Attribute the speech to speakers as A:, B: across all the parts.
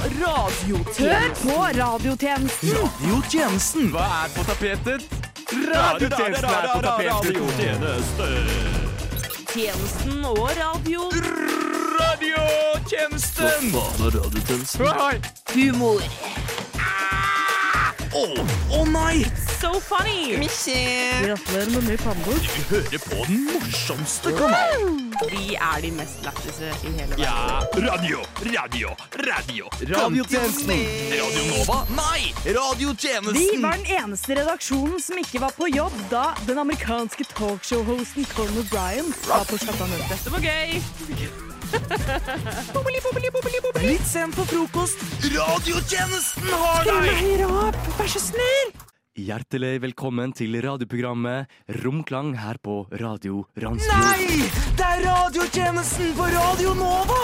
A: Hør på radiotjenesten.
B: Radiotjenesten. Hva er på tapetet? Radiotjenesten er på tapetet.
A: Tjenesten og radio.
B: Radiotjenesten! Hva faen er radiotjenesten?
A: Humor.
B: Å å nei!
A: So funny. Gratulerer med ny pannebok.
B: Du hører på den morsomste kanalen.
A: Vi er de mest lættise i hele verden.
B: Ja, radio, radio, radio.
C: Radiotjenesten.
B: Radio Nova? Nei!
D: Vi
B: Radiotjenesten.
D: var den eneste redaksjonen som ikke var på jobb da den amerikanske talkshow-hosten Colin O'Brien var på sjattamøte.
A: Det var gøy.
D: Litt sent på frokost.
B: Radiotjenesten har deg!
D: Vær så snill!
C: Hjertelig velkommen til radioprogrammet Romklang her på Radio Randsfjord.
B: Nei! Det er radiotjenesten på Radio Nova!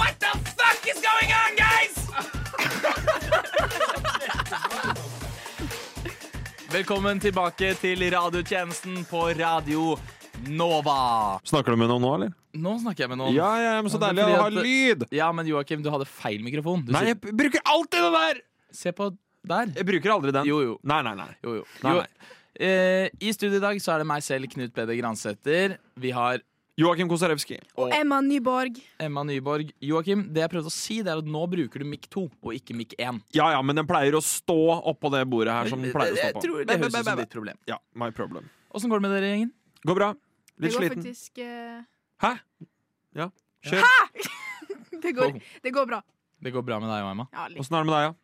B: What the fuck is going on, guys? Velkommen tilbake til radiotjenesten på Radio Nova.
E: Snakker du med noen nå, eller?
B: Nå snakker jeg med noen.
E: Ja, ja, men så
B: Ja, men
E: deilig å ha
B: fordi at-
E: lyd!
B: Ja, men Joakim, du hadde feil mikrofon. Du
E: Nei, jeg b- bruker alltid den der!
B: sit- Se på der.
E: Jeg bruker aldri den.
B: Jo, jo.
E: Nei, nei, nei.
B: Jo, jo.
E: Nei,
B: jo.
E: nei.
B: Eh, I studio i dag så er det meg selv, Knut Peder Gransæter. Vi har
E: Joakim Kosarewski.
F: Emma Nyborg.
B: Emma Nyborg. Joakim, det jeg prøvde å si, det er at nå bruker du mikk 2 og ikke mikk 1.
E: Ja, ja, men den pleier å stå oppå det bordet her som den pleier å stå på.
B: tror det høres ut som ditt problem.
E: Ja, my problem.
B: Åssen går det med dere, gjengen?
E: Går bra.
F: Det
E: Litt
F: går
E: sliten.
F: faktisk eh,
E: Hæ? Ja. Kjør.
F: det, går, det går bra.
B: Det går bra med deg og Emma.
F: Ja, litt.
E: Åssen er det med deg,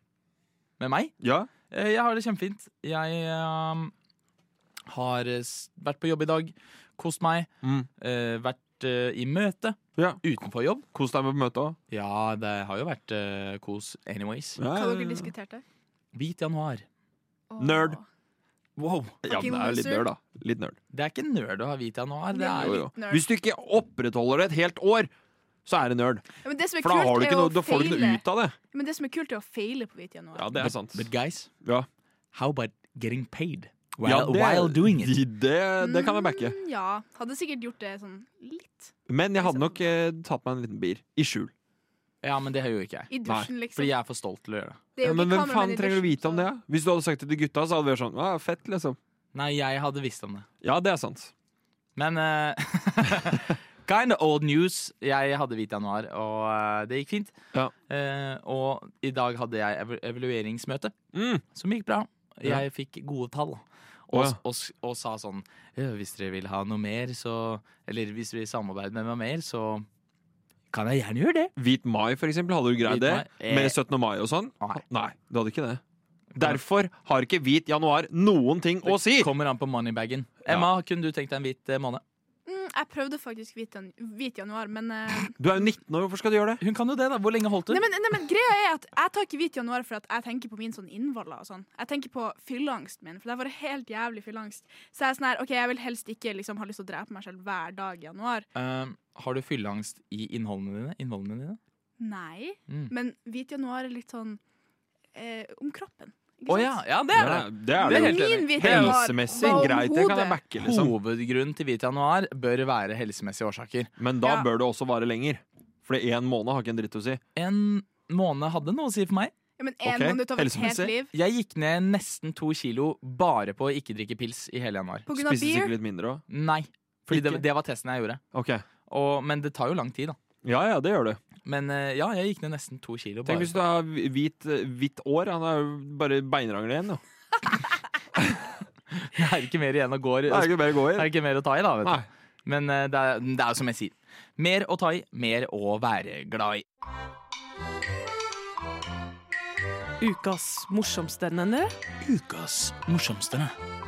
B: Med meg?
E: ja?
B: Eh, Jeg har det kjempefint. Jeg ehm, har eh, s- vært på jobb i dag, kost meg,
E: Mm.
B: eh, vært eh, i møte
E: Ja.
B: utenfor jobb.
E: Kos deg med møtet òg.
B: Ja, det har jo vært eh, kos anyways.
F: Hva dere diskuterte?
B: Hvit januar.
F: Åh.
E: Nerd.
B: Wow.
E: Ja, men det er jo litt
F: loser.
E: nerd, da. Litt nerd.
B: Det er ikke nerd å ha hvit januar. Det
F: Nei,
B: er
E: Jo,
B: jo
E: jo.
F: nerd.
E: Hvis du ikke opprettholder det et helt år, så er det nerd.
F: Ja, men det som er
E: For da, har du
F: kult,
E: ikke
F: er
E: noe,
F: å
E: da får du ikke
F: feile.
E: noe ut av det.
F: Men det som er kult, er å feile på hvit januar.
E: det er sant.
B: But guys,
E: Ja.
B: how about getting paid while,
E: Ja, det-
B: while doing it?
E: Det, det kan jeg backe.
F: Mm, ja. Hadde sikkert gjort det sånn litt.
E: Men jeg hadde nok eh, tatt meg en liten bier. I skjul.
B: Ja, men det gjør jo ikke jeg.
F: I dusjen, liksom.
B: Fordi jeg er for stolt til å gjøre det.
F: Det er jo
E: men
F: ikke
E: hvem
F: kameramann
E: faen
F: i
E: trenger å
F: dusjen,
E: vite om
F: så-
E: det? ja? Hvis du hadde sagt det til gutta, så hadde vi vært sånn ah, Fett, liksom.
B: Nei, jeg hadde visst om det.
E: Ja, det er sant.
B: Men uh, kind of old news. Jeg hadde hvit januar, og eh, det gikk fint.
E: Ja.
B: Eh, og i dag hadde jeg ev evalueringsmøte,
E: Mm.
B: som gikk bra.
E: Ja.
B: Jeg fikk gode tall. Og,
E: Å, ja.
B: og, s- og sa sånn «Ja, Hvis dere vil ha noe mer, så Eller hvis dere vil samarbeide med meg mer, så kan jeg gjerne gjøre det.
E: Hvit mai, for eksempel. Hadde du
B: Hvit
E: greid det?
B: mai? Eh.
E: Med 17. mai og sånn?
B: Nei.
E: du hadde ikke det. Derfor har ikke hvit januar noen ting å si!
B: Kommer an på moneybagen. Emma, kunne du tenkt deg en hvit eh, måned?
F: Mm, jeg prøvde faktisk hvit, jan hvit januar, men eh,
E: Du er jo 19 år, hvorfor skal du gjøre det?
B: Hun kan jo det, da. Hvor lenge holdt du?
F: Nei, men, nei, men greia er at Jeg tar ikke hvit januar for at jeg tenker på min sånn innvoller. og sånn. Jeg tenker på fylleangsten min, for det var helt jævlig fylleangst. Så jeg er sånn her, ok, jeg vil helst ikke liksom ha lyst til å drepe meg selv hver dag i januar.
B: Ehm, har du fylleangst i innholdene dine? Innholdene dine?
F: Nei,
B: Mm.
F: men hvit januar er litt sånn eh, om kroppen. Ikke
B: Å ja,
F: sant?
B: ja, det er det.
E: det
B: Det
E: er
B: er
E: det
B: helt
E: jo.
F: Min hvit januar
E: Helsemessig,
F: var om
E: greit, det kan jeg
F: hodet.
E: backe, liksom.
B: Hovedgrunnen til hvit januar bør være helsemessige årsaker.
E: Men da
F: Ja.
E: bør det også vare lenger. For én måned har ikke en dritt å si.
B: En måned hadde noe å si for meg.
F: Ja, men en
E: Ok,
F: måned utover et helt
E: helsemessig.
F: liv.
B: Jeg gikk ned nesten to kilo bare på å ikke drikke pils i hele januar.
F: På grunn av
E: Spiste
F: beer.
E: sikkert litt mindre òg.
B: Nei, fordi det,
E: Ikke?
B: det var testen jeg gjorde.
E: Ok.
B: Og, men det tar jo lang tid, da.
E: Ja ja, det gjør du.
B: Men eh, ja, jeg gikk ned nesten to kilo.
E: Tenk
B: Bare.
E: hvis du har hvit, hvitt år. Han er jo bare beinrangler igjen, jo.
B: Det er ikke mer igjen å gå.
E: Det er ikke bare å gå
B: Det
E: i.
B: er ikke mer å ta i, da. vet
E: Nei.
B: du. Men eh, det, er, det er jo som jeg sier. Mer å ta i, mer å være glad i.
D: Ukas morsomste, nenne.
B: Ukas morsomste.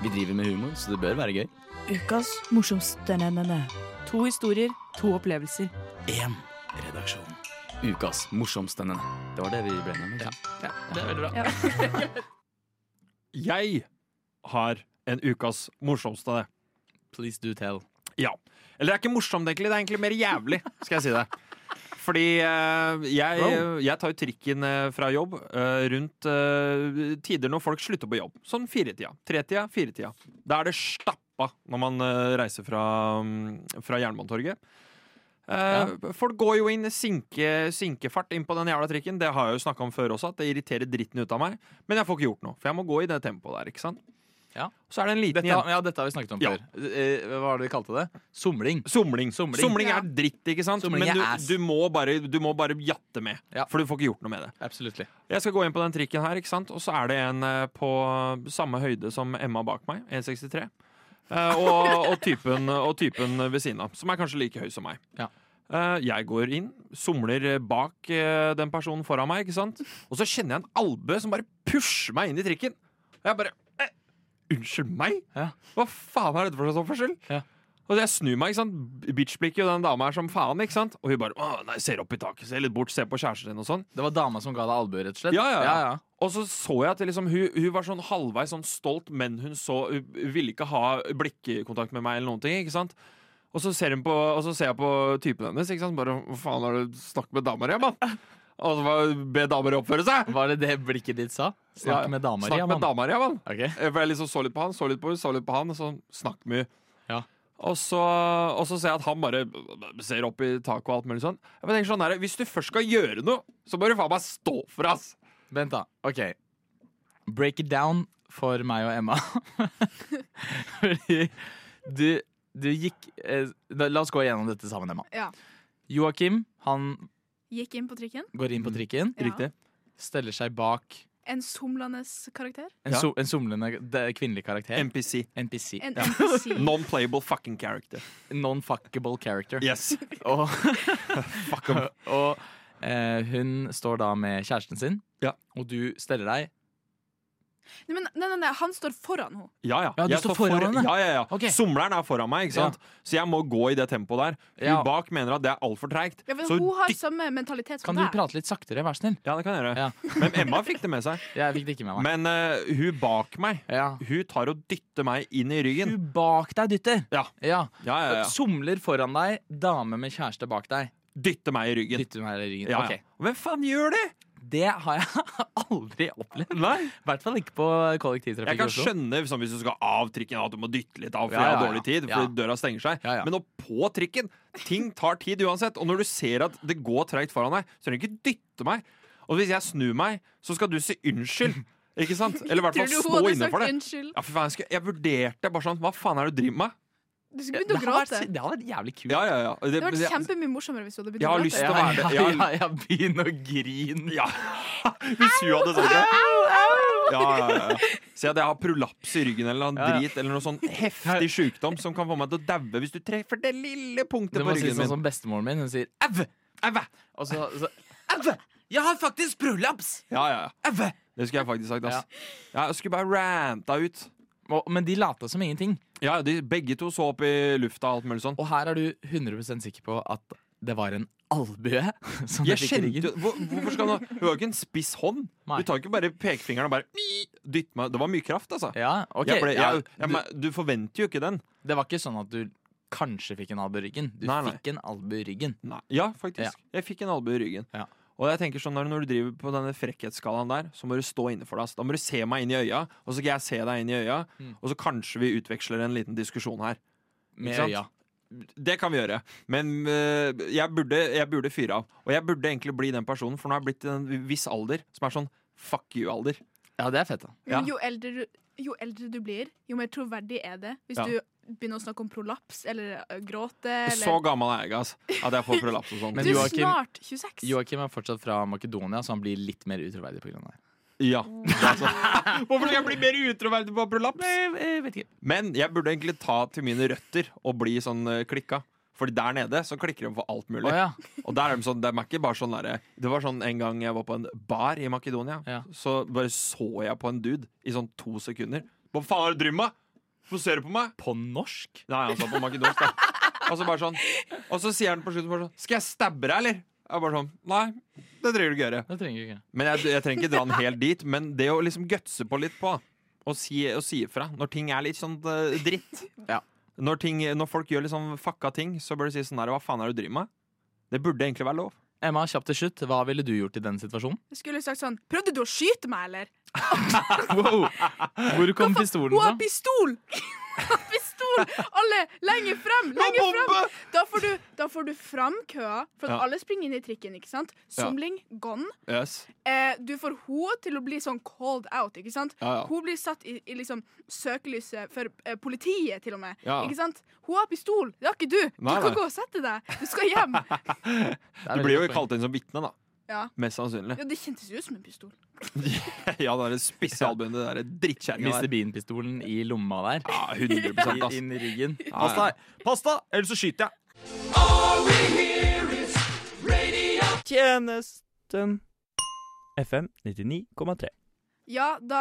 B: Vi driver med humor, så det bør være gøy.
D: Ukas morsomste, nenne. To historier, to opplevelser.
B: Én redaksjon. Ukas morsomste. Det var det vi ble med. Ja. ja, det er veldig bra.
E: Jeg har en ukas morsomste.
B: Please do tell.
E: Ja. Eller det er ikke morsomt, egentlig. Det er egentlig mer jævlig, skal jeg si det. Fordi eh, jeg,
B: Wow.
E: jeg tar jo trikken eh, fra jobb eh, rundt eh, tider når folk slutter på jobb. Sånn firetida. Tretida, firetida. Da er det stappa når man eh, reiser fra, mm, fra Jernbanetorget. Eh, Folk går jo inn i sinke, sinkefart inn på den jævla trikken. Det har jeg jo snakka om før også, at det irriterer dritten ut av meg. Men jeg får ikke gjort noe, for jeg må gå i det tempoet der. ikke sant?
B: Ja.
E: Så er det en liten
B: Dette,
E: jente
B: ja, dette har vi snakket om
E: Ja.
B: før. Eh, Hva var det vi kalte det? Somling.
E: Somling.
B: Somling.
F: Ja.
E: er dritt, ikke sant?
B: Somling
E: Men
B: er
E: du,
B: ass.
E: du, må bare, du må bare jatte med,
B: Ja.
E: for du får ikke gjort noe med det.
B: Absolutt.
E: Jeg skal gå inn på den trikken her, ikke sant? og så er det en eh, på samme høyde som Emma bak meg, 1,63. Eh, og, og, typen, og typen ved siden av, som er kanskje like høy som meg.
B: Ja.
E: Eh, jeg går inn, somler bak eh, den personen foran meg, ikke sant? og så kjenner jeg en albue som bare pusher meg inn i trikken. Og jeg bare eh, Unnskyld meg?
B: Ja.
E: Hva faen er dette for slags oppførsel?
B: Ja.
E: Og jeg snur meg, ikke sant? bitchblikker jo den dama her som faen, ikke sant? og hun bare Å, nei, ser opp i taket, ser litt bort, ser på kjæresten din og sånn.
B: Det var dama som ga deg albue, rett og slett?
E: Ja, ja, ja.
B: ja,
E: Og så så jeg at det liksom, hun, hun var sånn halvveis sånn stolt, men hun, så, hun ville ikke ha blikkontakt med meg. eller noen ting, ikke sant? Og så ser, hun på, og så ser jeg på typen hennes. ikke sant? Bare, Hva faen har du snakket med damer i, mann? Og så bare, be damer oppføre seg!
B: Var det det blikket ditt sa? Snakk
E: Ja,
B: med dama di,
E: Snakk med
B: mann.
E: damer i, mann!
B: Ok.
E: For jeg liksom så litt på han, så litt på hun, så litt på han, og så snakk mye.
B: Ja.
E: Og, så, og så ser jeg at han bare ser opp i taket og alt mulig sånn. Jeg tenker sånn her, Hvis du først skal gjøre noe, så må du faen meg stå for, ass!
B: Vent, da. OK. Break it down for meg og Emma. Fordi du, du gikk eh, da- La oss gå gjennom dette sammen, Emma.
F: Ja.
B: Joakim han
F: Gikk inn på trikken.
B: går
E: Mm.
B: inn på trikken,
F: Ja. Riktig.
B: steller seg bak
F: En somlende karakter.
B: en,
E: Ja.
B: so, en somlende de- kvinnelig karakter.
E: NPC.
B: NPC.
F: En
B: Ja.
F: NPC.
E: Non-playable fucking character.
B: Non-fuckable character.
E: Yes.
B: Og, og eh, hun står da med kjæresten sin,
E: Ja.
B: og du steller deg.
F: Nei, men, nei, nei, nei, han står foran henne.
E: Ja, ja.
B: Ja, du
E: Jeg
B: står foran henne.
E: Ja, ja, ja.
B: Ok.
E: Somleren er foran meg, ikke sant? så jeg må gå i det tempoet der. Hun
B: Ja.
E: bak mener at det er altfor treigt.
F: Ja, for
E: Så
F: hun har
E: dytt-
F: samme mentalitet som
B: Kan du
F: deg.
B: prate litt saktere, vær snill?
E: Ja, det kan jeg gjøre.
B: Ja.
E: Men Emma fikk det med seg.
B: Jeg fikk det ikke med meg.
E: Men eh, hun bak meg,
B: Ja.
E: hun tar og dytter meg inn i ryggen.
B: Du bak deg dytter.
E: Ja.
B: Ja.
E: Ja, ja, ja.
B: Somler foran deg, dame med kjæreste bak deg.
E: Dytter meg i ryggen.
B: Dytter meg i ryggen.
E: Ja, ja.
B: Ok.
E: Hvem faen gjør det?
B: Det har jeg aldri opplevd.
E: Nei.
B: I hvert fall ikke på
E: Jeg
B: kollektivtrafikk i
E: kan
B: Oslo.
E: skjønne sånn, hvis du skal av trikken at du må dytte litt av, for
B: Ja,
E: jeg
B: ja,
E: har
B: ja.
E: dårlig tid,
B: Ja.
E: fordi døra stenger seg.
B: Ja, ja.
E: Men nå på trikken, ting tar tid uansett. Og når du ser at det går treigt foran deg, så trenger du ikke dytte meg. Og hvis jeg snur meg, så skal du si unnskyld. Ikke sant? Eller i hvert fall
F: Tror du hun
E: stå
F: hadde
E: inne
F: sagt
E: for det.
F: unnskyld?
E: Ja, for faen, jeg, skulle, jeg vurderte bare sånn Hva faen er det du driver med?
F: Du skulle begynt å
B: har vært,
F: gråte.
B: det har vært jævlig kult.
E: Ja, ja, ja.
F: Det hadde vært
E: jeg-
F: kjempemye morsommere hvis du hadde begynt
E: Jeg
F: å
E: har lyst til
F: gråte.
E: å være det.
B: ja,
E: Jeg,
B: ja, jeg begynner å grine.
E: ja. Hvis hun hadde sagt det. Ja, ja, ja, ja. Si at jeg har prolaps i ryggen eller noe
B: Ja, ja.
E: drit eller noe sånn heftig sjukdom som kan få meg til å daue hvis du treffer det lille punktet
B: Det
E: på
B: må si
E: ryggen
B: sånn
E: min.
B: som bestemoren min. Hun sier au! Au! Og så, så Au! Jeg har faktisk prolaps!
E: Ja, ja, ja.
B: Au!
E: Det skulle jeg faktisk sagt, ass. Ja, jeg skulle bare ranta ut.
B: Og- Men de lata som ingenting.
E: Ja, de, begge to så opp i lufta og alt mulig sånn.
B: Og her er du 100 sikker på at det var en albue som
E: Jeg
B: jeg fikk i
E: kjente jo
B: ryggen.
E: hvor, Hvorfor skal man Hun har jo ikke en spiss hånd.
B: Nei.
E: Du tar jo ikke bare pekefingeren og bare mi, dytter meg Det var mye kraft, altså.
B: Ja, ok
E: Jeg ble,
B: ja,
E: jeg, jeg,
B: du,
E: men du forventer jo ikke den.
B: Det var ikke sånn at du kanskje fikk en albue i ryggen. Du
E: Nei, nei.
B: fikk en albue i ryggen.
E: Nei. Ja, faktisk.
B: Ja.
E: Jeg fikk en albue i ryggen.
B: Ja.
E: Og jeg tenker sånn, når- Når du driver på denne frekkhetsskalaen der, så må du stå inne for det. ass. Da må du se meg inn i øya, og så skal jeg se deg inn i øya.
B: Mm.
E: Og så kanskje vi utveksler en liten diskusjon her.
B: Med
E: sant?
B: øya.
E: Det kan vi gjøre. Men øh, jeg, burde, jeg burde fyre av. Og jeg burde egentlig bli den personen, for nå har jeg blitt i en viss alder som er sånn fuck you-alder.
B: Ja, det er fett, da.
E: Ja.
F: Men jo eldre, du, jo eldre du blir, jo mer troverdig er det. Hvis
E: Ja.
F: du begynner å snakke om prolaps eller ø, gråte eller
E: Så gammel er jeg ikke, ass, at jeg får prolaps og sånn.
B: Men
F: Du er
B: Joakim-
F: snart 26.
B: Joakim er fortsatt fra Makedonia, så han blir litt mer utroverdig pga. det.
E: Ja. Altså. Hvorfor skal jeg bli mer utroverdig på prolaps? Men jeg burde egentlig ta til mine røtter og bli sånn eh, klikka. Fordi der nede så klikker de for alt mulig.
B: Å ja.
E: Og der er de sånn, de er ikke bare sånn derre- Det var sånn en gang jeg var på en bar i Makedonia,
B: Ja.
E: så bare så jeg på en dude i sånn to sekunder. Hva faen er det du driver med? Hvorfor ser du på meg?
B: På norsk?
E: Nei, han sa på makedonsk, da. Og så bare sånn Og så sier han på slutten bare sånn Skal jeg stabbe deg, eller? Jeg bare sånn Nei, det trenger du ikke gjøre.
B: Det trenger du ikke.
E: Men jeg, jeg trenger ikke dra den helt dit, men det å liksom gutse på litt på og si, og si ifra når ting er litt sånn eh, dritt
B: Ja.
E: når, ting, når folk gjør litt sånn fucka ting, så bør du si sånn der Hva faen er det du driver med? Det burde egentlig være lov.
B: Emma, kjapt til slutt. Hva ville du gjort i den situasjonen?
F: Jeg skulle sagt sånn Prøvde du å skyte meg, eller?
B: Hvor kom pistolen
F: Hun har
B: fra?
F: pistol! Hun har pistol! Alle lenger frem! Lenger frem!
E: bombe!
F: Da får du, da får du fram køa, for at
E: Ja.
F: alle springer inn i trikken. ikke sant? Somling gone.
E: Yes.
F: Eh, du får henne til å bli sånn called out. ikke sant?
E: Ja, ja.
F: Hun blir satt i, i liksom søkelyset for eh, politiet, til og med.
E: Ja.
F: Ikke sant? Hun har pistol, det har ikke du. Du
E: Nei, nei.
F: kan gå og sette deg. Du skal hjem.
E: Du blir jo kalt inn som vitne, da.
F: Ja.
E: Mest sannsynlig.
F: Ja, det kjentes jo ut som en pistol.
E: ja, det er spisse albuen, det der drittkjerringa
B: Mr.
E: der.
B: Bean-pistolen i lomma der.
E: Ja, 100
B: I-
E: ass.
B: Inn i ryggen.
E: sånn
B: Ah,
E: Pass deg.
B: Pass deg, ellers så skyter jeg.
G: Tjenesten. FM 99,3.
F: Ja, da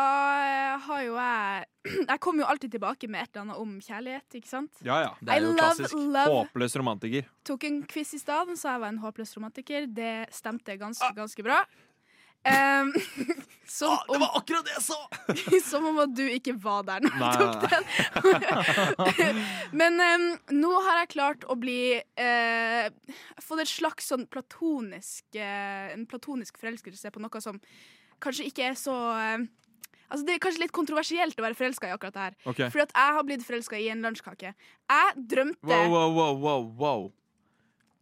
F: eh, har jo jeg Jeg kommer jo alltid tilbake med et eller annet om kjærlighet, ikke sant?
E: Ja, ja.
B: Det er jo
F: I love,
B: klassisk.
F: love.
E: Håpløs romantiker.
F: Tok en quiz i stad, den sa jeg var en håpløs romantiker. Det stemte
E: Ah.
F: ganske, ganske bra. Ehm, som, om,
B: akkurat det jeg sa!
F: som om at du ikke var der når
E: Nei,
F: jeg tok den. Men ehm, nå har jeg klart å bli eh, Fått et slags sånn platonisk eh, en platonisk forelskelse på noe som kanskje ikke er så eh, Altså Det er kanskje litt kontroversielt å være forelska i akkurat det her.
E: Ok.
F: Fordi at jeg har blitt forelska i en lunsjkake. Jeg drømte
B: Wow, wow, wow, wow, wow.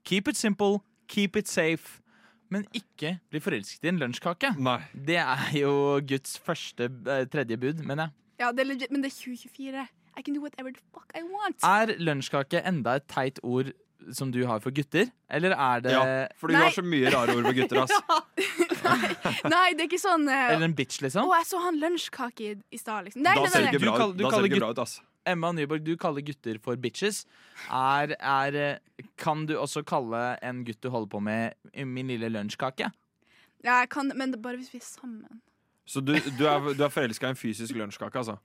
B: Keep it simple, keep it safe. Men ikke bli forelsket i en lunsjkake.
E: Nei.
B: Det er jo Guds første eh, tredje bud, mener jeg.
F: Ja, det er legit, men det er 2024. I can do whatever the fuck I want.
B: Er lunsjkake enda et teit ord som du har for gutter? Eller er det
E: Ja, fordi hun
F: Nei.
E: har så mye rare ord for gutter, ass.
F: Nei, det er ikke sånn eh,
B: Eller en bitch,
F: Å,
B: liksom?
F: jeg så han lunsjkake i, i stad, liksom. Nei,
E: Da
F: nei,
E: ser
F: nei,
E: det
F: nei.
E: ikke
B: Du
E: bra ut.
B: kaller- du
E: Da ser det
B: kaller
E: ikke bra ut, ass.
B: Emma Nyborg, du kaller gutter for bitches. Er, er eh, Kan du også kalle en gutt du holder på med, min lille lunsjkake?
F: Ja, jeg kan, men det er bare hvis vi er sammen.
E: Så du, du er, du er forelska i en fysisk lunsjkake, altså?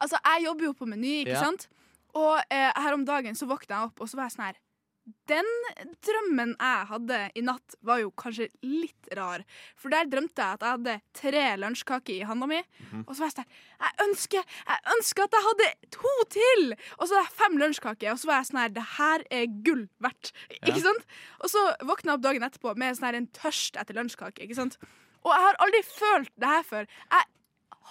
F: Altså, jeg jobber jo på Meny, ikke
B: Ja.
F: sant? Og eh, her om dagen så våkna jeg opp, og så var jeg sånn her Den drømmen jeg hadde i natt, var jo kanskje litt rar. For der drømte jeg at jeg hadde tre lunsjkaker i handa mi.
B: Mhm.
F: Og så var jeg sånn her Jeg ønsker, jeg ønsker at jeg hadde to til! Og så hadde jeg fem lunsjkaker, og så var jeg sånn her Det her er gull verdt. Ikke sant? Og så våkna jeg opp dagen etterpå med sånn her en tørst etter lunsjkake, ikke sant? Og jeg har aldri følt det her før. Jeg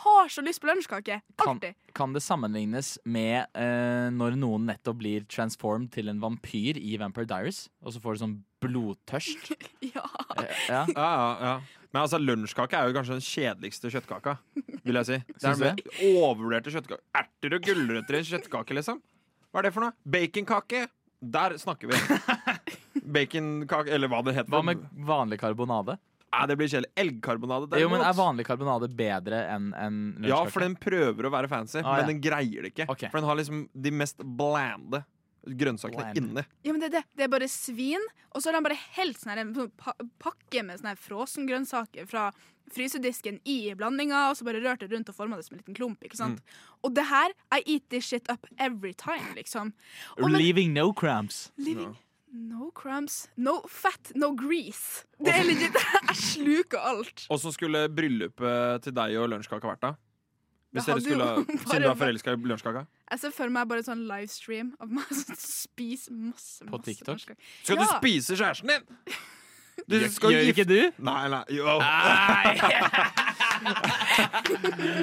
F: har så lyst på lunsjkake.
B: Kan-
F: Alltid.
B: Kan det sammenlignes med eh, når noen nettopp blir transformed til en vampyr i Vampire Diaries, og så får du sånn blodtørst?
F: Ja.
B: Eh, ja.
E: Ja, ja, ja. Men altså, lunsjkake er jo kanskje den kjedeligste kjøttkaka, vil jeg si. Det
B: Syns
E: er den overvurderte kjøttkaka. Erter og gulrøtter i en kjøttkake, liksom. Hva er det for noe? Baconkake? Der snakker vi. Baconkake, eller hva det heter.
B: Hva med vanlig karbonade?
E: Nei, det blir kjedelig. Elgkarbonade,
B: Jo, men
E: derimot.
B: Er vanlig karbonade bedre enn en lunsjkake?
E: Ja, for den prøver å være fancy,
B: Ah, ja.
E: men den greier det ikke.
B: Ok.
E: For den har liksom de mest blande grønnsakene
B: Bland.
E: inni.
F: Ja, men det, er det. det er bare svin, og så har han bare helt sånn her en sånn pa pakke med sånne her frosengrønnsaker fra frysedisken i blandinga, og så bare rørt det rundt og forma det som en liten klump. ikke sant?
B: Mm.
F: Og det her I eat this shit up every time, liksom. Og men,
B: Leaving no cramps.
F: living No crumbs, no fat, no grease. Det er legit. Jeg sluker alt.
E: Åssen skulle bryllupet til deg og lunsjkaka vært, da? Hvis dere
F: Det hadde jo
E: skulle,
F: bare
E: Siden du er
F: vært-
E: forelska i lunsjkaka?
F: Jeg ser for meg bare en sånn livestream av meg som spiser masse, masse
B: På TikTok?
F: norsk-
E: Skal
F: Ja.
E: du spise kjæresten din?! Du skal
B: Gjør
E: gifte
B: ikke du?
E: Nei, nei. Jo.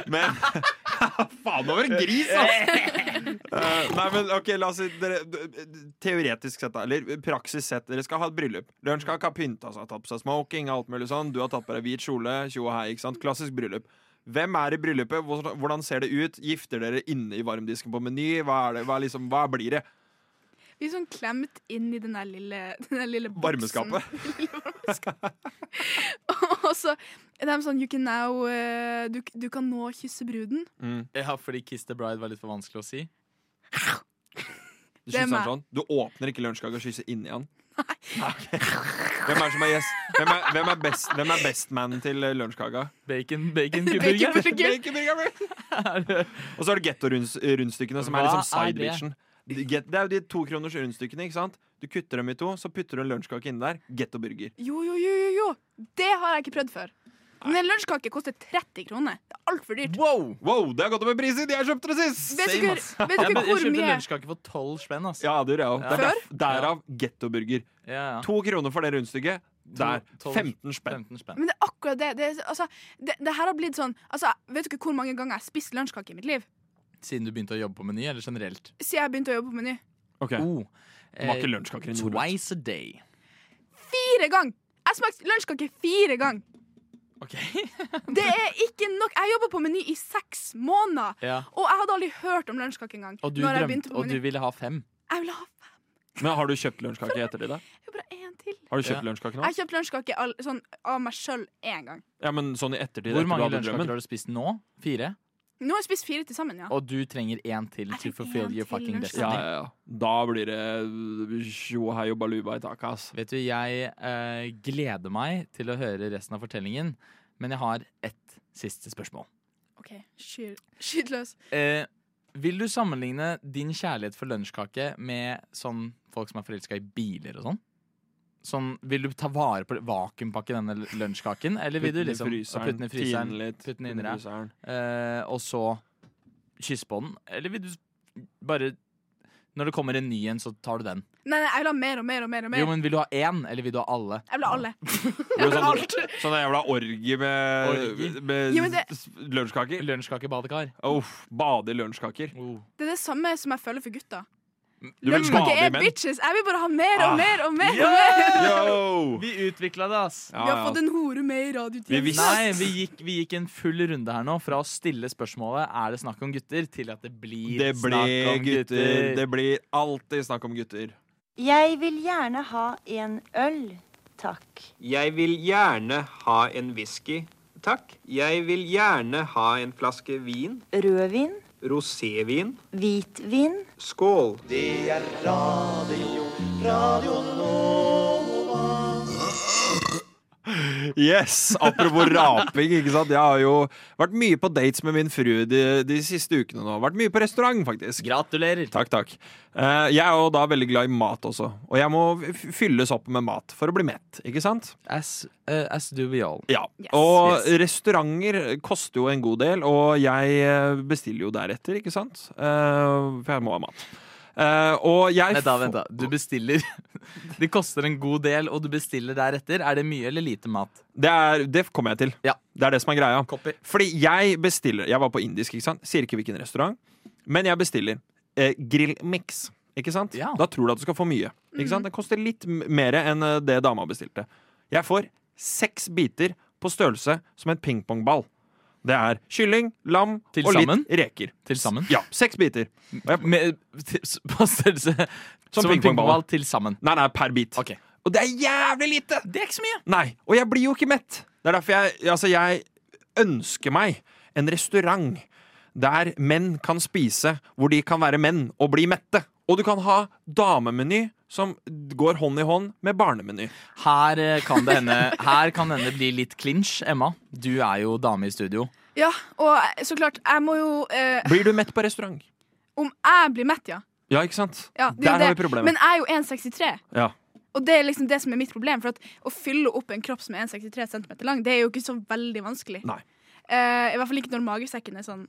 E: men Faen, det var en gris, ass! Eh, nei, men ok, la oss si dere, Teoretisk sett, da, eller praksis sett, dere skal ha et bryllup. Lunsjkake har pynta seg, tatt altså. på seg smoking, alt mulig sånn. Du har tatt på deg hvit kjole, tjo og hei, ikke sant? Klassisk bryllup. Hvem er i bryllupet? Hvordan- Hvordan ser det ut? Gifter dere inne i varmdisken på Meny? Hva, er det? Hva, er liksom, hva blir det?
F: Vi er sånn klemt inn i den der lille, den der lille boksen.
E: Varmeskapet.
F: Lille varmeskapet. og så er de sånn You can now eh, du, du kan nå kysse bruden.
E: Mm.
B: Ja, fordi Kiss the Bride var litt for vanskelig å si.
E: Du,
F: Det er
E: kysser
F: meg.
E: han sånn. du åpner ikke lunsjkaka og kysser inni han? Nei. Hvem er det som er gjest? Hvem er, hvem er, best, hvem er bestmannen til eh, lunsjkaka?
B: Bacon, bacon,
F: Bacon,
B: kubburger.
F: burger.
E: Og så er det getto-rundstykkene, som
B: Hva
E: er liksom
B: er det?
E: sidebitchen. De get- Det er jo de tokroners rundstykkene. ikke sant? Du kutter dem i to, så putter du en lunsjkake inni der. Getto-burger.
F: Jo, jo, jo, jo, jo! Det har jeg ikke prøvd før. Men en lunsjkake koster 30 kroner. Det er altfor dyrt.
B: Wow!
E: Wow, det har gått opp i pris siden jeg kjøpte det sist!
F: Vet
B: Same,
F: dere,
B: ass.
F: vet
B: Jeg,
F: dere
B: jeg
F: hvor
B: kjøpte
F: mye
B: lunsjkake for tolv spenn. ass.
E: Ja, det gjør jeg òg.
B: Ja.
E: Derav getto-burger.
B: Ja, ja.
E: To kroner for det rundstykket. Der.
B: tolv-
E: 15 spenn.
B: 15 spenn.
F: Men det er akkurat det. Det, er- altså, det, det her har blitt sånn altså, Vet dere hvor mange ganger jeg har spist lunsjkake i mitt liv?
B: siden du begynte å jobbe på Meny, eller generelt?
F: Siden jeg begynte å jobbe på Meny.
E: Ok,
B: Oh,
E: Var ikke lunsjkaker i Nordland?
B: Twice a day.
F: Fire ganger! Jeg smakte lunsjkake fire ganger.
B: Ok.
F: Det er ikke nok. Jeg jobba på Meny i seks måneder,
B: Ja.
F: og jeg hadde aldri hørt om lunsjkake engang.
B: Og, du
F: når jeg
B: drømte,
F: begynte på
B: og du
F: Meny.
B: ville ha fem.
F: Jeg ville ha
E: Men har du kjøpt lunsjkake i ettertid? da?
F: jeg vil bare én til.
E: Har du kjøpt
B: Ja.
E: lunsjkake nå?
F: Jeg kjøpte lunsjkake all- sånn, av meg sjøl én gang.
E: Ja, men sånn i ettertid?
B: Hvor
E: Etter du
B: mange
E: hadde drømmen?
B: lunsjkaker har du spist nå? Fire?
F: Nå har jeg spist fire til sammen, ja.
B: Og du trenger én til
F: Jeg
B: to
F: trenger
B: fulfill
F: en
B: your
F: til
B: fucking
F: lunsjkake.
B: destiny.
E: Ja, ja, ja. Da blir det tjo hei og baluba i taket, ass.
B: Vet du, jeg eh, gleder meg til å høre resten av fortellingen, men jeg har ett siste spørsmål.
F: OK, skyr. Skyt løs.
B: Eh, vil du sammenligne din kjærlighet for lunsjkake med sånn folk som er forelska i biler og sånn? Sånn, Vil du ta vare på det- vakuumpakke denne l- lunsjkaken, eller vil du
E: Putt den i
B: liksom
E: fryseren,
B: putte den i fryseren
E: tine litt,
B: putte den
E: i
B: inn i deg.
E: fryseren.
B: eh, og så kysse på den? Eller vil du s- bare Når det kommer en ny en, så tar du den.
F: Nei, nei, jeg vil ha mer og mer og mer. og mer
B: Jo, men Vil du ha én, eller vil du ha alle?
F: Jeg vil ha alle.
E: Det blir Sånn, sånn jævla orgie med,
B: Orgie.
E: med
F: Ja, men det-
E: s- lunsjkaker.
B: Lunsjkakebadekar.
E: Uff, bade i lunsjkaker.
B: Oh.
F: Det er det samme som jeg føler for gutter.
E: Du vil
F: Lunsjkake
E: bade i
F: er
E: menn?
F: bitches. Jeg vil bare ha mer og
E: Ah.
F: mer og mer. og mer.
E: Yo!
B: Vi utvikla det, ass.
E: Ja,
F: Vi har
E: ja.
F: fått en hore med i
E: Vi
F: radiotjenesten.
E: visste-
B: Nei, vi gikk, vi gikk en full runde her nå, fra å stille spørsmålet er det snakk om gutter, til at det blir
E: Det
B: snakk
E: blir
B: om gutter.
E: gutter. Det blir alltid snakk om gutter.
H: Jeg vil gjerne ha en øl, takk.
I: Jeg vil gjerne ha en whisky, takk. Jeg vil gjerne ha en flaske vin.
H: Rødvin,
I: Rosévin.
H: hvitvin.
I: Skål.
E: Yes! Apropos raping, ikke sant. Jeg har jo vært mye på dates med min frue de, de siste ukene nå. Vært mye på restaurant, faktisk.
B: Gratulerer.
E: Takk, takk. Eh, jeg er jo da veldig glad i mat også, og jeg må f- fylles opp med mat for å bli mett, ikke sant?
B: As, eh, as do we all.
E: Ja.
F: Yes.
E: Og
B: Yes.
E: restauranter koster jo en god del, og jeg eh, bestiller jo deretter, ikke sant? Eh, for jeg må ha mat. Eh, og jeg
B: Vent da,
E: får-
B: vent da. Du bestiller Det koster en god del, og du bestiller deretter. Er det mye eller lite mat?
E: Det, er, det kommer jeg til.
B: Ja.
E: Det er det som er greia.
B: Copy.
E: Fordi jeg bestiller Jeg var på indisk, ikke sant? Sier ikke hvilken restaurant. Men jeg bestiller eh, grillmix. Ikke sant?
B: Ja. Mm.
E: Da tror du at du skal få mye. Ikke sant? Det koster litt m- mer enn eh, det dama bestilte. Jeg får seks biter på størrelse som en pingpongball. Det er kylling, lam
B: Til
E: og
B: sammen?
E: litt reker.
B: Til sammen?
E: Ja, seks biter. Og jeg,
B: Med, til, på størrelse som, en
E: pingpongball.
B: pingpongball til sammen.
E: nei, nei, per bit.
B: Ok.
E: Og det er jævlig lite!
B: Det er ikke så mye.
E: Nei, og jeg blir jo ikke mett. Det er derfor jeg, altså jeg ønsker meg en restaurant der menn kan spise, hvor de kan være menn og bli mette. Og du kan ha damemeny som går hånd i hånd med barnemeny.
B: Her eh, kan det hende Her kan det hende bli litt clinch. Emma, du er jo dame i studio.
F: Ja, og så klart, jeg må jo eh,
E: Blir du mett på restaurant?
F: Om jeg blir mett, ja.
E: Ja, ikke sant?
F: ja det er jo
E: der har
F: det.
E: vi problemet.
F: Men jeg er jo 1,63.
E: ja.
F: Og det er liksom det som er mitt problem. For at å fylle opp en kropp som er 1,63 cm lang, det er jo ikke så veldig vanskelig.
E: Nei.
F: Eh, I hvert fall ikke når magesekken er sånn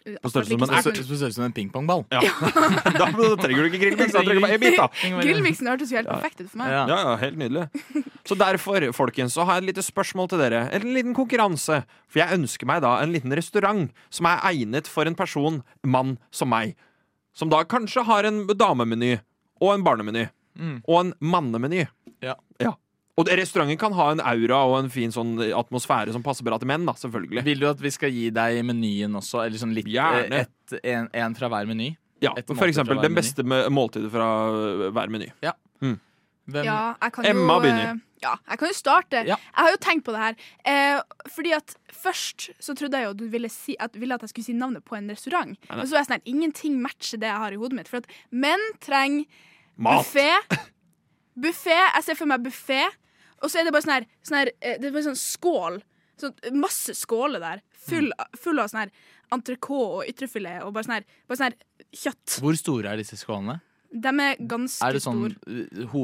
F: eh,
E: På størrelse
F: akkurat
E: som en
F: like
B: På
F: stor
E: ert.
B: størrelse som en pingpongball.
E: ja. da trenger du ikke grillmix, da trenger du bare en bit, da.
F: Grillmiksen hørtes jo helt perfekt ut for meg.
B: Ja.
E: Ja, ja, helt nydelig. Så derfor, folkens, så har jeg et lite spørsmål til dere. Eller en liten konkurranse. For jeg ønsker meg da en liten restaurant som er egnet for en person, mann som meg. Som da kanskje har en damemeny og en barnemeny.
B: Mm.
E: Og en mannemeny.
B: Ja.
E: Og det- restauranten kan ha en aura og en fin sånn atmosfære som passer bra til menn, da, selvfølgelig.
B: Vil du at vi skal gi deg menyen også? Eller sånn litt eh,
E: Gjerne.
B: Et, en, en fra hver meny?
E: Ja,
B: Et
E: for
B: måltid fra
E: eksempel
B: hver
E: den
B: meny.
E: beste med- måltidet fra øh, hver meny.
B: Hvem?
F: Ja, jeg kan
E: Emma
F: jo, eh,
E: begynner.
F: Ja, jeg kan jo starte.
B: Ja.
F: Jeg har jo tenkt på det her. Eh, fordi at først så trodde jeg jo du ville, si, at, ville at jeg skulle si navnet på en restaurant. Men så var jeg sånn her, ingenting matcher det jeg har i hodet mitt. For at menn trenger
E: Mat!
F: buffé. Buffé. Jeg ser for meg buffé. Og så er det bare sånn her, sånn her eh, Det er bare sånn skål. Sånn, masse skåler der. Full, full av sånn her entrecôte og ytrefilet og bare sånn her, bare sånn her kjøtt.
B: Hvor store er disse skålene?
F: De er ganske
B: Er det sånn
F: store.
B: eh,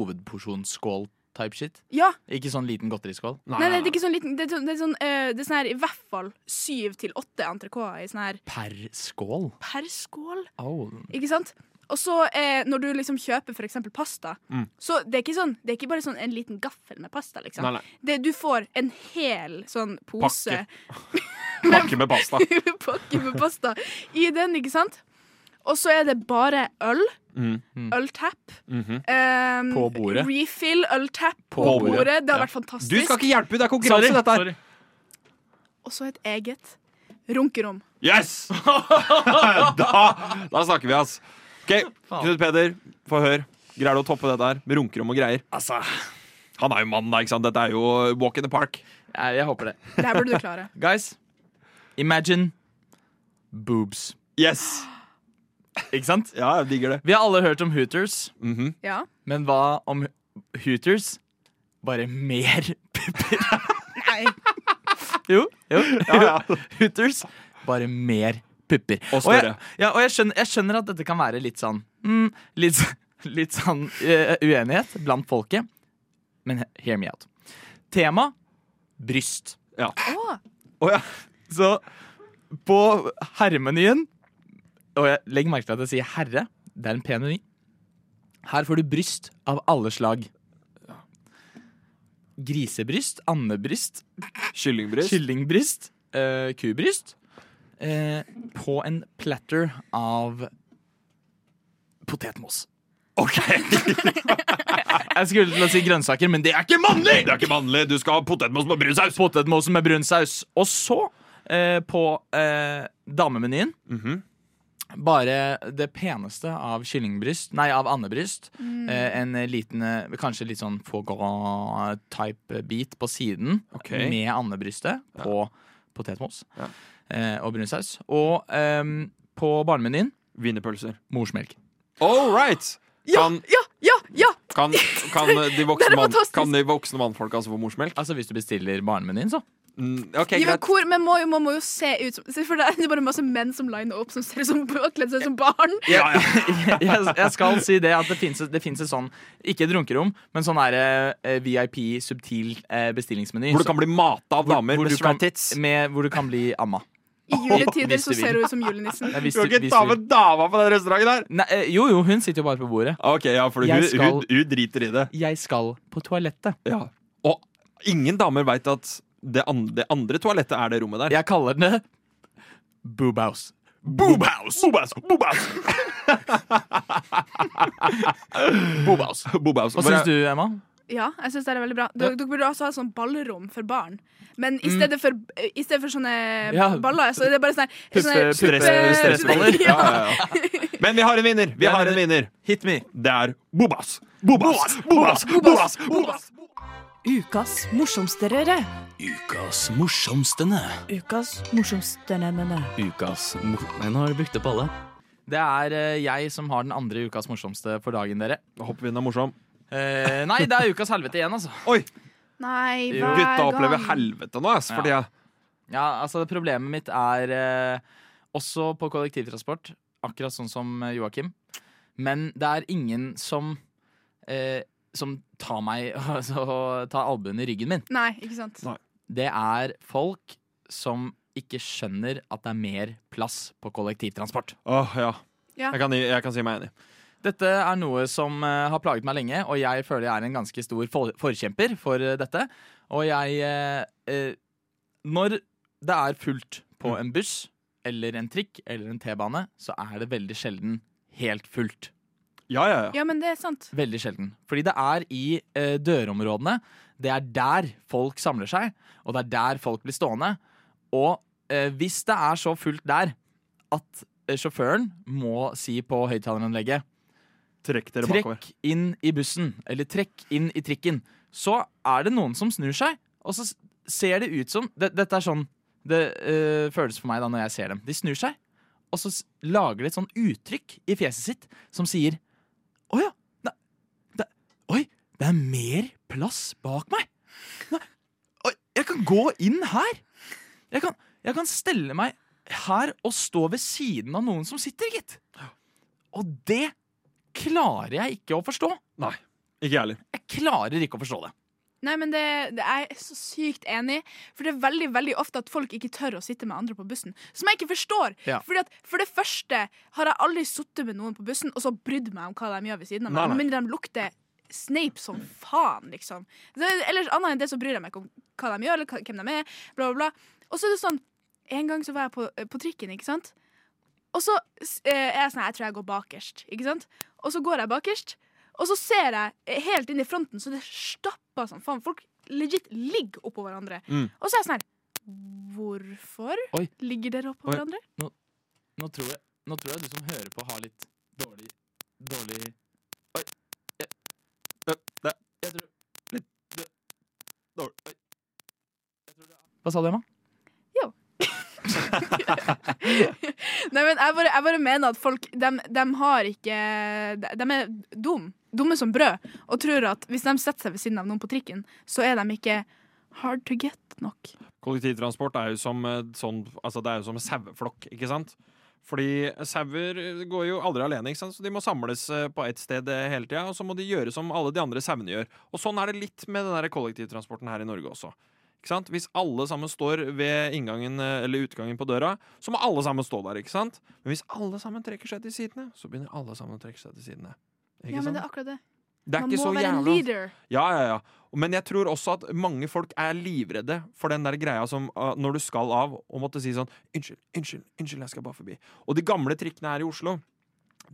B: hovedporsjonsskål-type shit?
F: Ja.
B: Ikke sånn liten godteriskål?
F: Nei, nei, det er ikke sånn liten. Det er, sånn- det er, sånn, eh, det er sånn her i hvert fall syv til åtte entrecôter i sånn her
B: Per skål?
F: per skål.
B: Au.
F: Ikke sant? Og så eh, når du liksom kjøper for eksempel pasta, så det er ikke sånn Det er ikke bare sånn en sånn. liten gaffel med pasta, liksom.
E: Nei, nei.
F: Det, du får en hel sånn pose.
E: Pakke med pasta.
F: pakke med pasta i den, ikke sant? Og så er det bare øl.
E: Mm.
F: Øltap.
E: Mhm.
F: Um,
B: På bordet.
F: Refill, øltap på,
E: På
F: bordet.
E: bordet,
F: Det har
B: ja.
F: vært fantastisk.
E: Du skal ikke hjelpe, det er konkurranse, dette her.
B: sorry.
F: Og så et eget runkerom.
E: Yes! da, da snakker vi, ass. Ok, Knut Peder, få høre. Greier du å toppe dette her med runkerom og greier?
B: Altså,
E: Han er jo mannen, da. ikke sant? Dette er jo walk in the park.
B: jeg, jeg håper det.
F: Det her burde du klare.
B: Guys, imagine boobs.
E: Yes!
B: Ikke sant?
E: Ja, jeg digger det.
B: Vi har alle hørt om Hooters,
E: Mhm.
F: Ja.
B: men hva om Hooters? Bare mer pupper. Nei. Jo. jo, jo.
E: Ja, ja.
B: Hooters, bare mer pupper. jeg,
E: Og større.
B: ja, og jeg, skjønner, jeg skjønner at dette kan være litt sånn mm, litt, s- litt sånn eh, uenighet blant folket, men he- hear me out. Tema bryst.
F: Å,
E: Å, ja.
B: Så på herremenyen Og jeg legg merke til at jeg sier herre. Det er en pen meny. Her får du bryst av alle slag. Grisebryst, andebryst,
E: Kyllingbryst.
B: kyllingbryst, eh, kubryst. eh, på en platter av potetmos.
E: OK!
B: Jeg skulle til å si grønnsaker, men det er ikke mannlig!
E: Det er ikke mannlig. Du skal ha potetmos med brun saus.
B: Potetmosen med brun saus. Og så, eh, på eh, damemenyen,
E: Mhm.
B: bare det peneste av kyllingbryst, nei, av andebryst. Eh, en liten, eh, kanskje litt sånn foie-type bit på siden
E: Ok.
B: med andebrystet på potetmos
E: Ja.
B: eh, og brun saus. Og ehm, på barnemenyen
E: Wienerpølser.
B: morsmelk.
E: All right! Kan,
F: ja, ja, ja!
E: kan, kan, de
F: Det er
E: voksne mann,
F: fantastisk.
E: kan de voksne mannfolka altså få morsmelk?
B: Altså hvis du bestiller barnemenyen, så.
E: Mm, OK,
F: Ja, men
E: greit.
F: hvor, men må jo, man må jo se ut som se, For det er bare masse menn som liner opp, som ser ut som kledd seg som barn.
E: Ja, ja.
B: jeg, jeg skal si det at det fins et, det finnes et sånn, ikke et runkerom, men sånn der, eh, VIP, subtil eh, bestillingsmeny.
E: Hvor du
B: så-
E: kan bli mata av damer
B: hvor
E: med
B: du
E: svære
B: kan-
E: tits.
B: Med, hvor du kan bli amma.
F: I juletider
B: Hvis du
F: så ser hun ut som julenissen.
B: Nei, hvis
E: Du kan
B: hvis
E: ikke ta med dama på den restauranten her!
B: Nei, eh, jo, jo, hun sitter jo bare på bordet.
E: Ok, ja, for hun,
B: Jeg skal-
E: hun, hun driter i det.
B: Jeg skal på toalettet.
E: Ja. Og ingen damer veit at det andre, det andre toalettet er det rommet der.
B: Jeg kaller det Boobhouse.
E: Boobhouse! Boobhouse!
B: Boobhouse. Hva syns du, Emma?
F: Ja, jeg synes det er veldig bra. Dere, dere burde også ha sånn ballrom for barn. Men i stedet for, i stedet for sånne
B: Ja.
F: baller, så er det bare sånn sånne,
B: Puppe-
F: sånne
B: puppe-
F: puppe-
B: stressballer.
E: Ja, ja, ja. Men vi har en vinner! Vi har en vinner.
B: Hit me.
E: Det er Boobhouse. Boobhouse! Boobhouse! Boobhouse! Boobhouse!
D: Ukas morsomstørere.
B: Ukas morsomstene.
D: Ukas morsomstørere.
C: Ukas mor- Men nå har du brukt opp alle.
B: Det er eh, jeg som har den andre ukas morsomste for dagen, dere.
E: Jeg Håper vi den er morsom.
B: Eh, nei, det er ukas helvete igjen, altså.
E: Oi!
F: Nei, hver
E: Gutta opplever
F: gang.
E: helvete nå, ass, for tida.
B: Ja, altså Problemet mitt er eh, også på kollektivtransport, akkurat sånn som eh, Joakim. Men det er ingen som eh, Som tar meg altså, Tar albuen i ryggen min.
F: Nei, ikke sant.
B: Det er folk som ikke skjønner at det er mer plass på kollektivtransport.
E: Åh, ja.
F: Ja.
E: Jeg kan, jeg kan si meg enig.
B: Dette er noe som eh, har plaget meg lenge, og jeg føler jeg er en ganske stor for forkjemper for eh, dette. Og jeg eh, eh, Når det er fullt på en buss eller en trikk eller en T-bane, så er det veldig sjelden helt fullt.
E: Ja, ja, ja.
F: Ja, men det er sant.
B: Veldig sjelden. Fordi det er i eh, dørområdene. Det er der folk samler seg, og det er der folk blir stående. Og eh, hvis det er så fullt der at eh, sjåføren må si på høyttaleranlegget
E: Trekk dere bakover.
B: trekk inn i bussen, eller trekk inn i trikken, så er det noen som snur seg, og så s- ser det ut som det, Dette er sånn det øh, føles for meg da når jeg ser dem. De snur seg, og så s- lager de et sånn uttrykk i fjeset sitt som sier Å ja, det, det, oi, det er mer plass bak meg. Nei, oi, jeg kan gå inn her. Jeg kan, jeg kan stelle meg her og stå ved siden av noen som sitter, gitt. Og det klarer jeg ikke å forstå.
E: Nei, ikke jeg heller.
B: Jeg klarer ikke å forstå det.
F: Nei, men det, det er jeg så sykt enig i. For det er veldig veldig ofte at folk ikke tør å sitte med andre på bussen. Som jeg ikke forstår.
B: Ja.
F: Fordi at, For det første har jeg aldri sittet med noen på bussen og så brydd meg om hva de gjør ved siden av
E: Nei,
F: meg.
E: nei.
F: Med mindre de lukter Snape som faen, liksom. Så, ellers annet enn det så bryr jeg meg ikke om hva de gjør, eller hva- hvem de er. Bla, bla, bla. Og så er det sånn En gang så var jeg på, på trikken, ikke sant. Og så s- eh, er jeg sånn Jeg tror jeg går bakerst, ikke sant. Og så går jeg bakerst, og så ser jeg eh, helt inn i fronten, så det stapper sånn. Faen, folk legit ligger oppå hverandre.
E: Mm.
F: Og så er jeg sånn her Hvorfor
B: Oi.
F: ligger dere oppå
B: Oi.
F: hverandre?
B: Nå tror, jeg, nå tror jeg du som hører på, har litt dårlig Dårlig Oi. Jeg, Ø, det, jeg tror Litt dø- dårlig Oi. Jeg tror det er- Hva sa du, Emma?
F: Nei, men jeg bare, jeg bare mener at folk dem, dem har ikke de- dem er dum Dumme som brød. Og tror at hvis de setter seg ved siden av noen på trikken, så er de ikke hard to get nok.
E: Kollektivtransport er jo som eh, sånn, altså det er jo som en saueflokk, ikke sant? Fordi sauer eh, går jo aldri alene, ikke sant? så de må samles eh, på ett sted eh, hele tida. Og så må de gjøre som alle de andre sauene gjør. Og sånn er det litt med den der kollektivtransporten her i Norge også. Ikke sant? Hvis alle sammen står ved inngangen eh, eller utgangen på døra, så må alle sammen stå der. ikke sant? Men hvis alle sammen trekker seg til sidene, så begynner alle sammen å trekke seg til sidene. Ikke
F: Ja, men
E: sant?
F: det er akkurat det.
E: det
F: Man må være en
E: jævla-
F: leader.
E: ja, ja, ja. Men jeg tror også at mange folk er livredde for den der greia som ah, når du skal av og måtte si sånn Unnskyld, unnskyld, unnskyld, jeg skal bare forbi. Og de gamle trikkene her i Oslo,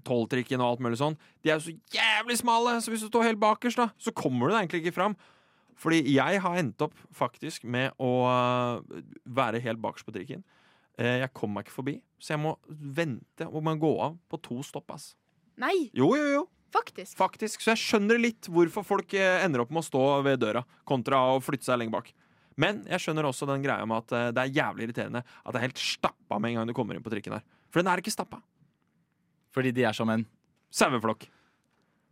E: tolvtrikken og alt mulig sånn, de er jo så jævlig smale, så hvis du står helt bakerst, da, så kommer du deg egentlig ikke fram. Fordi jeg har endt opp faktisk med å eh, være helt bakerst på trikken. Eh, Jeg kom meg ikke forbi, så jeg må vente og må gå av på to stopp, ass.
F: Nei,
E: Jo, jo, jo.
F: faktisk.
E: Faktisk, Så jeg skjønner litt hvorfor folk eh, ender opp med å stå ved døra, kontra å flytte seg lenger bak. Men jeg skjønner også den greia med at eh, det er jævlig irriterende at det er helt stappa med en gang du kommer inn på trikken her. For den er ikke stappa.
B: Fordi de er som en
E: Saueflokk.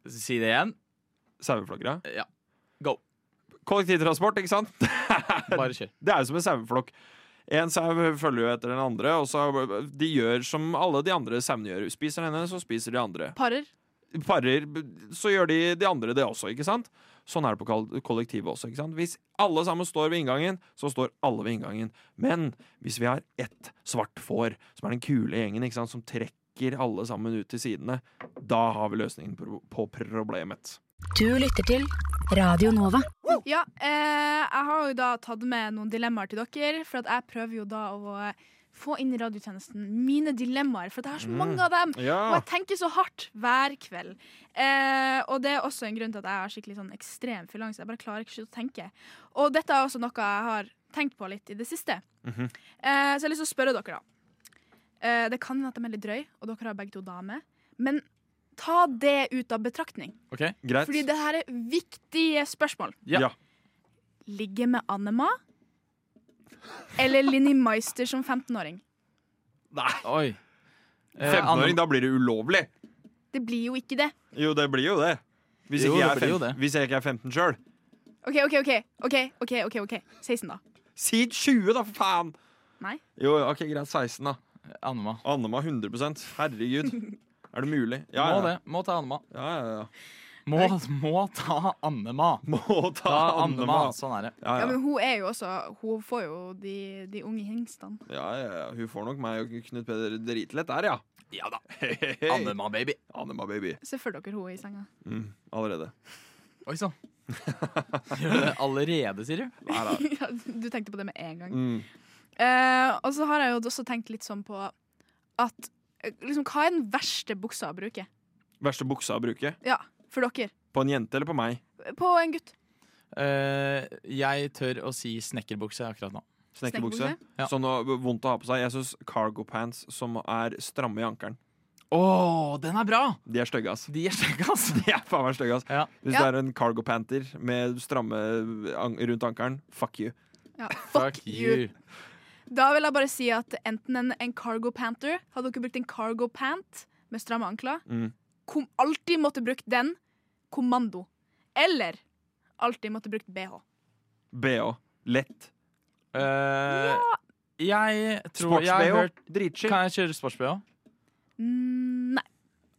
B: Si det igjen.
E: Saueflokkere.
B: Ja. Go.
E: Kollektivtransport, ikke sant?
B: Bare kjør.
E: Det er jo som en saueflokk. En sau følger jo etter den andre, og så eh, de gjør som alle de andre sauene gjør. Spiser den ene, så spiser de andre.
F: Parer.
E: parer, så gjør de de andre det også, ikke sant? Sånn er det på kal- kollektivet også, ikke sant? Hvis alle sammen står ved inngangen, så står alle ved inngangen. Men hvis vi har ett svart får, som er den kule gjengen, ikke sant, som trekker alle sammen ut til sidene, da har vi løsningen på på problemet.
J: Du lytter til Radio Nova.
F: Ja, eh, jeg har jo da tatt med noen dilemmaer til dere, for at jeg prøver jo da å eh, få inn i radiotjenesten mine dilemmaer, for at jeg har så
E: Mm.
F: mange av dem. Og
E: Ja.
F: jeg tenker så hardt hver kveld. Eh, og det er også en grunn til at jeg har skikkelig sånn ekstrem fyllangst. Jeg bare klarer ikke å tenke. Og dette er også noe jeg har tenkt på litt i det siste.
E: Mhm.
F: eh, så jeg har lyst til å spørre dere, da. Eh, det kan hende at de er litt drøy, og dere har begge to damer. Men ta det ut av betraktning.
B: Ok?
E: Greit.
F: Fordi det her er viktige spørsmål.
B: Ja.
E: Ja.
F: Ligge med Annema eller Linni Meister som 15-åring?
E: Nei,
B: Oi. Eh,
E: 15-åring,
B: Anne-
E: da blir det ulovlig.
F: Det blir jo ikke det.
E: Jo, det blir jo det. Hvis
B: Jo,
E: ikke,
B: det
E: jeg, er
B: blir jo
E: 15
B: det.
E: hvis jeg ikke er 15 sjøl.
F: OK, OK, OK. ok, ok, ok, ok 16, da.
E: Si 20, da, for faen!
F: Nei.
E: Jo, ok, greit. 16, da.
B: Annema.
E: Annema 100 Herregud. Er det mulig?
B: Må
E: Ja, ja.
B: det. Må ta Annema.
E: ja, ja, ja.
B: Må, må ta Annema.
E: Må ta,
B: Ta
E: Annema.
B: Annema. Sånn er det.
E: Ja,
F: Ja,
E: ja.
F: men hun er jo også Hun får jo de, de unge hingstene.
E: Ja, ja, ja. Hun får nok meg og Knut Peder dritlett der, ja.
B: Ja da.
E: Hei, hei, hei.
B: Annema, baby.
E: Annema, baby.
F: Se for dere hun i senga.
E: Mm, allerede.
B: Oi sann. Gjør det allerede, sier du?
E: Nei, nei.
F: Ja, du tenkte på det med en gang.
E: Mm.
F: Eh, og så har jeg jo også tenkt litt sånn på at eh, liksom, Hva er den verste buksa å bruke?
E: Verste buksa å bruke?
F: Ja, for dere.
E: På en jente eller på meg?
F: På en gutt.
B: Eh, jeg tør å si snekkerbukse akkurat nå.
E: Snekkerbukse.
B: Ja.
E: Sånn å- vondt å ha på seg. Jeg syns cargo pants som er stramme i ankelen,
B: Å, den er bra!
E: de er stygge, ass.
B: De er stygge, altså.
E: De er faen meg stygge, ass.
B: Ja.
E: Hvis
F: Ja.
E: det er en cargo panter med stramme an rundt ankelen, fuck you.
F: Ja, fuck you. Da vil jeg bare si at enten en, en cargo panter Hadde dere brukt en cargo pant med stramme ankler,
E: Mm.
F: kom, alltid måtte brukt den kommando. Eller alltid måtte brukt BH.
E: BH. Lett.
B: Eh, jeg tror jeg har
E: Sports-BH.
B: hørt
E: Dritchill.
B: Kan jeg kjøre sports-BH?
F: Mm, nei.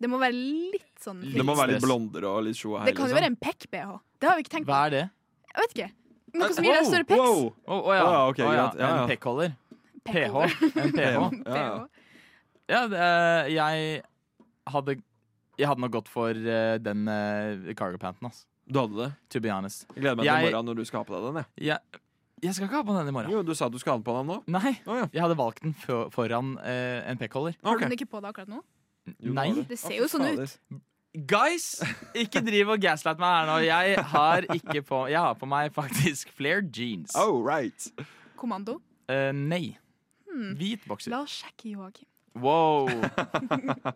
F: Det må være litt sånn
B: Litt
E: Det må være litt
B: stress.
E: blonder og litt liksom. tjo og hei.
F: Det kan jo være en pekk-BH. Det har vi ikke tenkt på.
B: Hva er det?
F: Jeg vet ikke. Noe som gir deg større
E: Wow,
F: peks.
E: wow.
B: Å å ja.
E: Å ja, ok,
B: Å ja.
E: greit. Ja, ja.
B: En pekkholder. PH.
F: Pekk-holder.
B: En PH.
E: Ja, ja.
F: PH.
B: Ja, det, eh, jeg hadde Jeg hadde nok gått for eh, den eh, cargo panten, altså.
E: Du hadde det?
B: To be honest.
E: Jeg gleder meg til
B: Jeg-
E: morgenen når du skal ha på deg den. jeg.
B: Jeg, Jeg skal ikke ha på den i morgen.
E: Jo, Du sa du skulle ha den på deg nå.
B: Nei, jeg hadde valgt den fø- foran eh, en pekkholder.
F: Har du den ikke på deg akkurat nå?
B: Nei.
F: Det ser jo sånn ut.
B: Guys, ikke driv og gaslight meg her nå. Jeg har ikke på Jeg har på meg faktisk flere jeans. Eh,
E: Oh, right.
F: Kommando.
B: nei.
F: Hmm.
B: Hvit bokser.
F: La oss sjekke, Joakim.
B: Wow.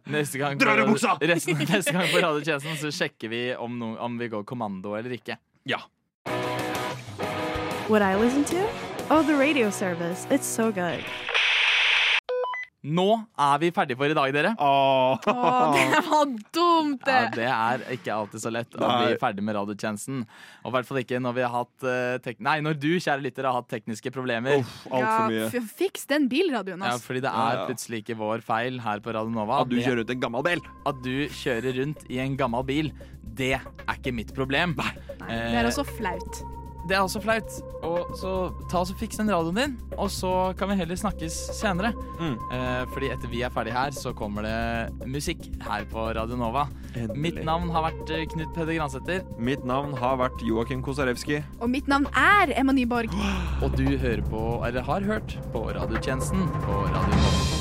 B: Neste gang
E: Drar du buksa?
B: resten, neste gang på Radiotjenesten så sjekker vi om, no, om vi går kommando eller ikke.
E: Ja.
D: What I listen to? Oh, the radio service. It's so good.
B: Nå er vi ferdige for i dag, dere.
F: Å, det var dumt,
B: Ja,
F: det!
B: det er ikke alltid så lett å
E: Nei.
B: bli ferdig med radiotjenesten. Og i hvert fall ikke når vi har hatt eh, tek Nei, når du, kjære lytter, har hatt tekniske problemer.
E: Uff, altfor mye.
F: f- fiks den bilradioen,
B: Ja,
F: ass.
B: fordi det
E: Ja,
B: er
E: ja.
B: plutselig ikke vår feil her på Radio Nova.
E: At du
B: Det-
E: kjører rundt en gammel bil.
B: at du kjører rundt i en gammel bil, det er ikke mitt problem. Eh,
F: Nei, det
E: eh.
F: er også flaut.
B: Det er også flaut. Og så ta oss og Fiks den radioen din, og så kan vi heller snakkes senere.
E: Mm.
B: Eh, fordi etter vi er ferdig her, så kommer det musikk her på Radio Nova. Mitt navn har vært eh, Knut Peder Gransæter,
E: Mitt navn har vært Joakim Kosarewski.
F: Og mitt navn er Emma Nyborg.
B: og du hører på, eller har hørt, på radiotjenesten på Radio Nova.